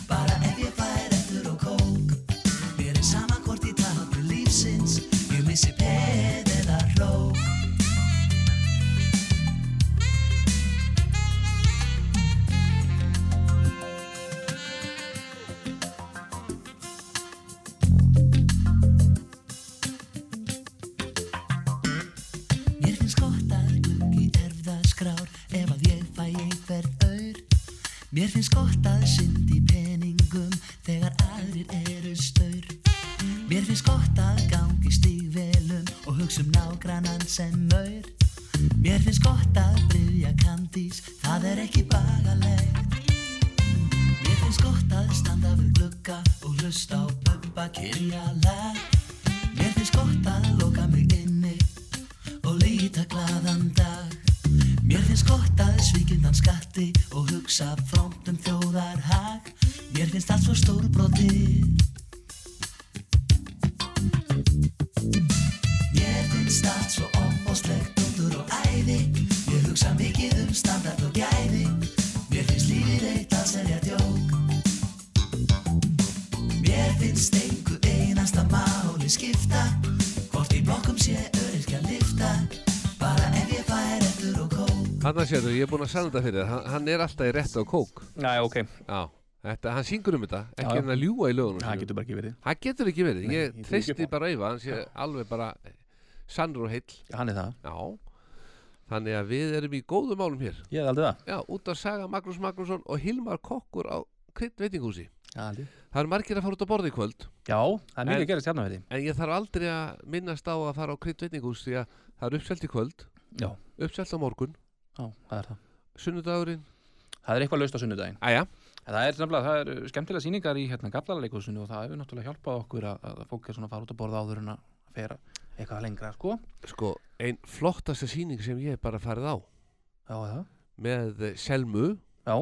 M: Bara ef ég fær eftir og kók Mér er sama hvort í tapu lífsins Ég missi peð eða hlók Mér finnst gott að gluggi erfðaskrár ef að ég fæ einhvern aur. Mér finnst gott að syndi peningum þegar aðrir eru staur. Mér finnst gott að gangi stígvelum og hugsa um nágrannan sem maur. Mér finnst gott að bryðja kandís, það er ekki bagalegt. Mér finnst gott að standa við glugga og hlusta á bubba kyrja lag. Mér finnst gott að loka mig inni og líta glaðan dag. Mér finnst gott að svíkjundan skatti og hugsa frómt um þjóðarhag. Mér finnst allt svo stórbrotið. Mér finnst allt svo opbóstlegt undur og æði Ég hugsa mikið um standart og gæði Mér finnst lífið eitt að selja djók Mér finnst einhver einasta máli skipta Hvort í blokkum sé öryrkja lifta Bara ef ég fær eftir
C: Hanna séður, ég er búin að sanna þetta fyrir þér, hann, hann er alltaf í rétt á kók.
D: Næ, ok,
C: Já, þetta, hann syngur um þetta,
D: Já,
C: ekki
D: já.
C: hann að ljúa í lögunum.
D: það
C: sínum.
D: getur bara ekki verið
C: hann getur ekki verið,
D: Nei, ég
C: ég
D: trúi ekki
C: treysti
D: upp á
C: bara auðvað, hann sé alveg bara sannur og heill.
D: Já, Hann er það,
C: Já, þannig að við erum í góðum málum hér.
D: ég hef aldrei það
C: Já, út af Saga Magnús Magnússon og Hilmar Kokkur á Krydd veitingúsi.
D: Já, aldrei.
C: Það eru margir að fara út að borða í kvöld,
D: Já, það er mikið
C: En-
D: að gerast hérna verið
C: en ég þarf aldrei að minnast á að fara á Krydd veitingús því að það er uppselt í kvöld,
D: Já,
C: uppselt á morgun,
D: já, það er það
C: sunnudagurinn.
D: Það er eitthvað laust á sunnudaginn
C: Æja,
D: En Það er, nefnilega, það er skemmtilega sýningar í hérna gaflarleikursinu og það hefur náttúrulega hjálpað okkur að, að fólk er svona að fara út að borða áður en að fera eitthvað lengra, sko
C: sko, ein flottasta sýning sem ég hef bara farið á
D: Já, er það,
C: með eh, Selmu,
D: já,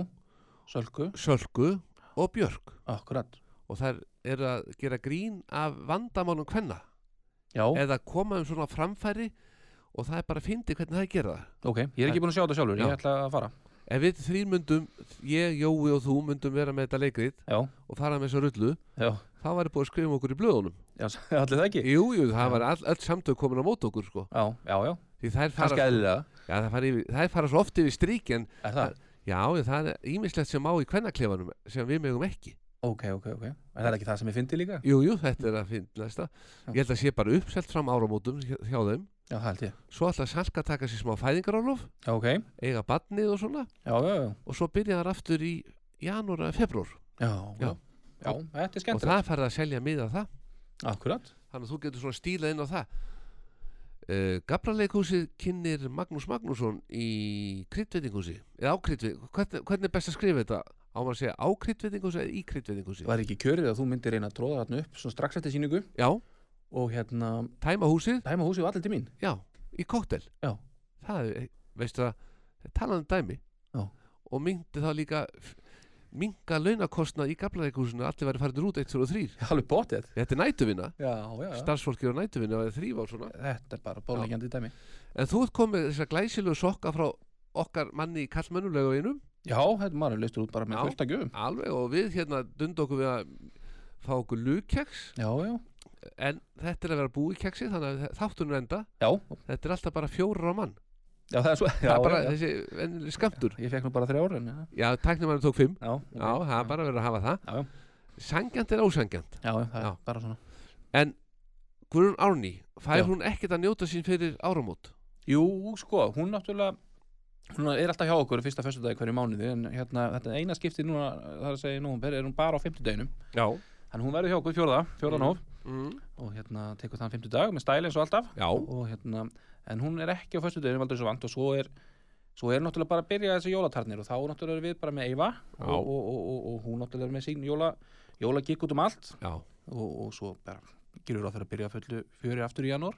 D: sölku,
C: Sölku og Björk
D: akkurat
C: og þær eru að gera grín af vandamálum hvenna
D: Já,
C: eða koma um svona framfæri og það er bara að fyndi hvernig það gera það
D: ok, ég er ekki búin að sjá þetta sjálfur,
C: Já.
D: ég ætla að fara
C: Ef við þrír myndum, ég, Jói og þú myndum vera með þetta leikrið
D: Já,
C: og fara með þessa rullu
D: já,
C: þá væri búið að skrifa um okkur í blöðunum
D: já, <laughs> allir það ekki Já,
C: Jú, jú, það var all, öll samtök komin á mót okkur sko.
D: já, já,
C: því þær fara, sko-
D: kannski eðlilega
C: já, þær fara, yfir, þær fara svo oft yfir strík en
D: Er það,
C: já, það er ímislegt sem á í hvennaklefanum sem við megum ekki
D: ok, ok, ok En það er ekki það sem ég fyndi líka?
C: Jú, jú, þetta er að finnast Ég held að sé bara uppselt fram áramótum hjá hjá þeim
D: Já, það held ég
C: Svo ætla Salka að taka sér smá fæðingarálof
D: Já, ok, já,
C: Eiga badnið og svona
D: já, já,
C: Og svo byrja þar aftur í janúar eða februar
D: já,
C: Já.
D: já. já þetta er
C: Og
D: skemmtilegt
C: það farið að selja miða það
D: Akkurat,
C: Þannig að þú getur svona stílað inn á það uh, Gabraleghúsið kynir Magnús Magnússon í kryddveitingúsi Eða á kryddveitingúsi hvernig, hvernig er best að skrifa þetta? Á maður að segja á kryddveitingúsi eða í kryddveitingúsi
D: var ekki kjörið að þú myndir reyna að tróða þarna upp svona strax eftir sýningu
C: Já,
D: og hérna,
C: tæma húsið
D: tæma húsið og allir til mín
C: Já, í kóktel
D: Já.
C: Það er, veistu það, talaðan dæmi
D: Já.
C: Og myndi þá líka Minga launakostna í gablaðeikúsinu Allir væri farinir út 1, 2 og 3
D: Alveg bótið
C: Þetta er nætuvinna,
D: Já, já, já
C: starfsfólki er á nætuvinna Það er þrýf á svona
D: Þetta er bara bólengjandi dæmi
C: En þú ert komið þessa glæsilegu sokka frá okkar manni í kallmönnulegu einum
D: Já, þetta maður er leistur út bara
C: Já.
D: með fullt að gjöfum
C: Alveg og við hérna dund okkur við að fá okkur lúkeks
D: Já, já,
C: En þetta er að vera búi keksi Þannig að þáttunum enda
D: já,
C: Þetta er alltaf bara fjórar á mann
D: já, það er svo já,
C: Það er bara
D: já,
C: þessi venjuleg skamtur
D: já. Ég fekk nú bara þrjá ára en, já,
C: Já, tæknumæður tók fimm
D: já, ok.
C: Já, það er bara verið að hafa það
D: Já, já.
C: Sangjant er ósangjant
D: já, já, það er
C: Já.
D: bara svona
C: Guðrún Árný, fær
D: Já.
C: hún ekkert að njóta sín fyrir áramót?
D: Jú, sko, hún náttúrulega hún er alltaf hjá okkur fyrsta föstudagi hverju mánuði en hérna, þetta eina skipti núna það er að segja nú, er hún bara á fimmtudeginum
C: Já
D: en hún verður hjá okkur fjórða, fjórðan
C: Mm.
D: hóf
C: mm.
D: og hérna tekur þann fimmtudag með stæli eins og alltaf
C: Já,
D: og hérna, en hún er ekki á föstudeginum aldrei svo vant og svo er svo er náttúrulega bara að byrja þessi jólatarnir og þá náttúrulega erum við bara með Eyva og,
C: Já.
D: og, og, og, og hún náttúrulega er með sín jóla jólagikk út um allt
C: já,
D: og, og svo bara gerur það fyrir að byrja fullu fjöri aftur í janúar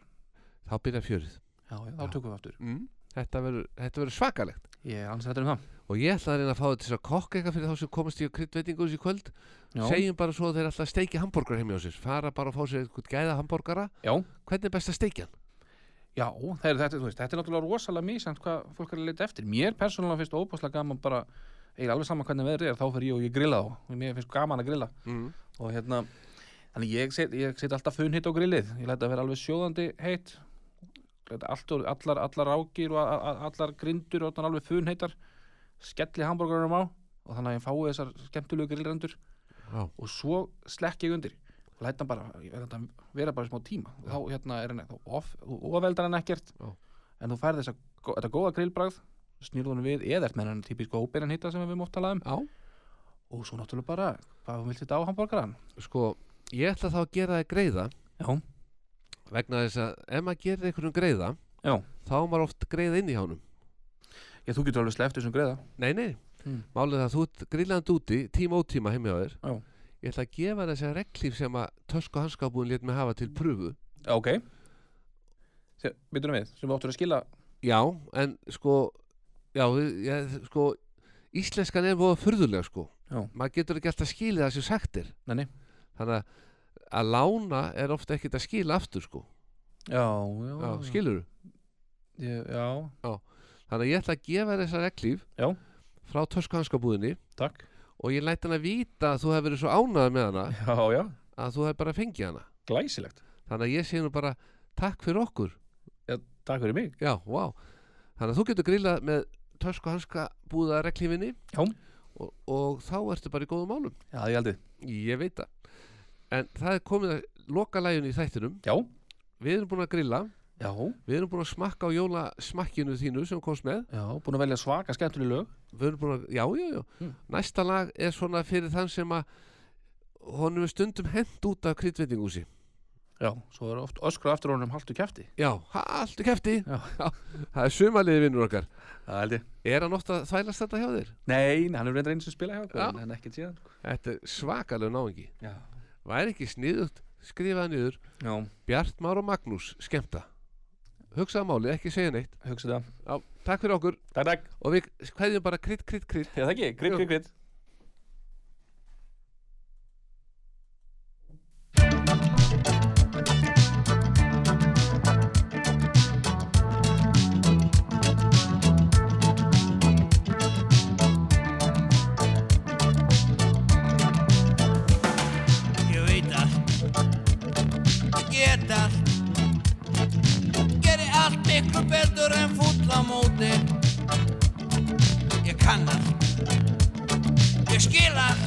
C: þá byrja fjörið
D: já, já, þá
C: Já.
D: tökum við aftur
C: mm. Þetta verður þetta verður svakalegt
D: ég er ansið þetta um það
C: Og ég ætla að reyna að fá þetta til þess að kokka eitthvað fyrir þá sem komast í kryddveitingu þessi kvöld
D: já,
C: Segjum bara svo að þeir alltaf steiki hambúrgar heim hjá sér Fara bara að fá sér eitthvað gæða hambúrgara
D: já,
C: Hvernig er best að steikja hann?
D: já það er, þetta, þú veist, þetta er náttúrulega rosalega mísamt hvað fólk er að leita eftir mér persónulega finnst óbúslega gaman bara ég er alveg saman hvernig veður er þá fer ég og ég grilla þá og mér finnst gaman að grilla
C: Mm.
D: og hérna þannig ég set, ég set alltaf funhitt á grillið ég læt að vera alveg sjóðandi heitt læt allt og allar, allar rákir og a- a- allar grindur og orðnar alveg funheitar skelli hambúrgarum á og þannig að ég fái þessar skemmtilegu grillrendur
C: Já.
D: og svo slekk ég undir og læt hann bara, ég læt hann vera bara í smá tíma og þá hérna er hann þá of, ofeldar hann ekkert
C: Já.
D: en þú færð þessa, gó- þetta góða grillbragð snýrðu hann við eða ert með hann típisk óbeinan hitta sem við höfum oft talað um
C: Já
D: og svo náttúrulega bara, hvað vilt þetta á hambúrgaran
C: Sko, ég ætla þá að gera það greiða
D: Já,
C: Vegna þess að ef maður gerir einhverjum greiða
D: Já.
C: Þá á maður oft greiða inn í hánum
D: Já, þú getur alveg sleppt þessum greiða
C: Nei, nei,
D: Mm.
C: málið það að þú ert grillandi úti tíma ótíma heim hjá þér
D: Já.
C: ég ætla að gefa þér þessi reglíf sem að tösku hanskapun létt mig hafa til pröfu
D: Já, ok Býtum við, sem við áttur að skila
C: Já, en sko já, við- ég, sko íslenskan er voða furðulega sko
D: Já.
C: maður getur ekki alltaf skilið það sem sagt er
D: Nei, nei.
C: þannig að að lána er ofta ekkert að skila aftur sko
D: Já, já,
C: já, skilur
D: ég, Já,
C: þannig að ég ætla að gefa þér þessa reglíf
D: Já.
C: frá tösku hanskapúðinni
D: takk
C: og ég læt hana vita að þú hefur verið svo ánað með hana
D: Já, já,
C: að þú hefur bara fengið hana
D: glæsilegt
C: þannig að ég sé nú bara takk fyrir okkur
D: Takk fyrir mig
C: Já, vá. Þannig að þú getur grillað með tösku hanska búða reglifinni
D: Já.
C: og, og þá ertu bara í góðum málum
D: Já, ég aldrei
C: ég veit það en það er komið að loka læginu í þættinum
D: Já,
C: við erum búin að grilla,
D: já,
C: við erum búin að smakka á jólasmakkinu þínu sem komst með
D: já, búin að velja svaka skemmtunni lög Hmm.
C: við erum búin að, já, já, já næsta lag er svona fyrir þann sem að honum er stundum hend út af kryddveitingúsi
D: Já, svo er oft öskra aftur honum haltu kæfti
C: já, ha, allt er kefti
D: Já.
C: það er sumaliði vinnur okkar
D: Það held ég
C: er hann ofta að þvælast þetta hjá þér?
D: Nei, nei, hann er reyndur einu sem spila hjá okkur
C: Já.
D: en- En ekkert síðan sko.
C: þetta er svakalega náingi
D: Já,
C: væri ekki sniðugt, skrifaða niður
D: já,
C: Bjart Már og Magnús, skemmta hugsaða málið, ekki segja neitt
D: hugsa það
C: já, takk fyrir okkur
D: Takk, takk
C: og við hveðjum bara krydd, krydd, krydd
D: Já, það ekki, grip, grip, grip
N: Ég veit það Ég get það Geri allt miklu betur en fulla móti Ég kann það Ég skil það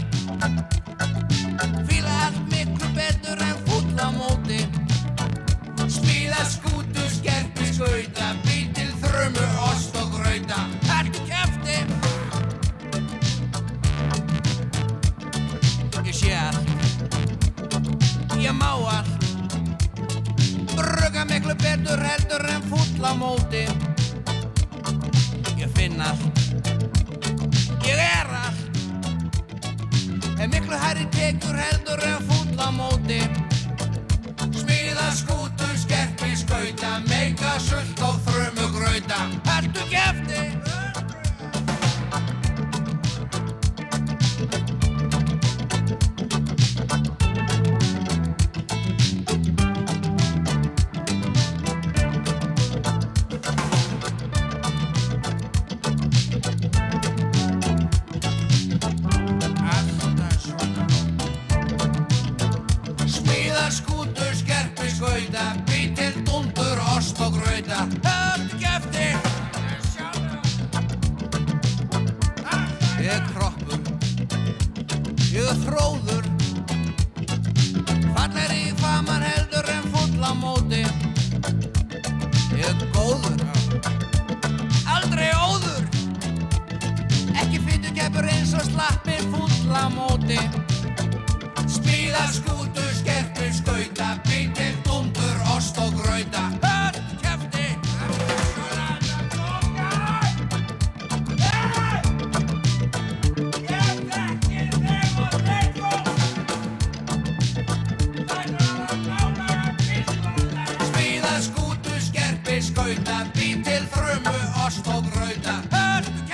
N: Fýla allt miklu betur en fulla móti Smíða skútu, skerpi, skauta Bý til þrömmu, ost og grauta Allt kæfti Ég sé allt ég má allt Brugga miklu betur heldur en fúll á móti Ég finn allt Ég er allt En miklu hærri tekur heldur en fúll á móti Smíða skútu, skerpi, skauta Meika sult og þrömu grauta Haltu kæfti Alltaf svona Smíða skútu, skerpi, skauta Bý til dundur, ost og grauta Haltu kæfti Ég er kroppur Ég er fróður Fallar í faman heldur en full á móti Ég er góður Aldrei óður Ekki fytu keppur eins og slappi full á móti Spíða skútu, skerpi, skauta Bítir, dundur, ost og grauta Öll kefti Smíða skútu, skerpi, skauta Bý til þrömmu, ost og grauta Öll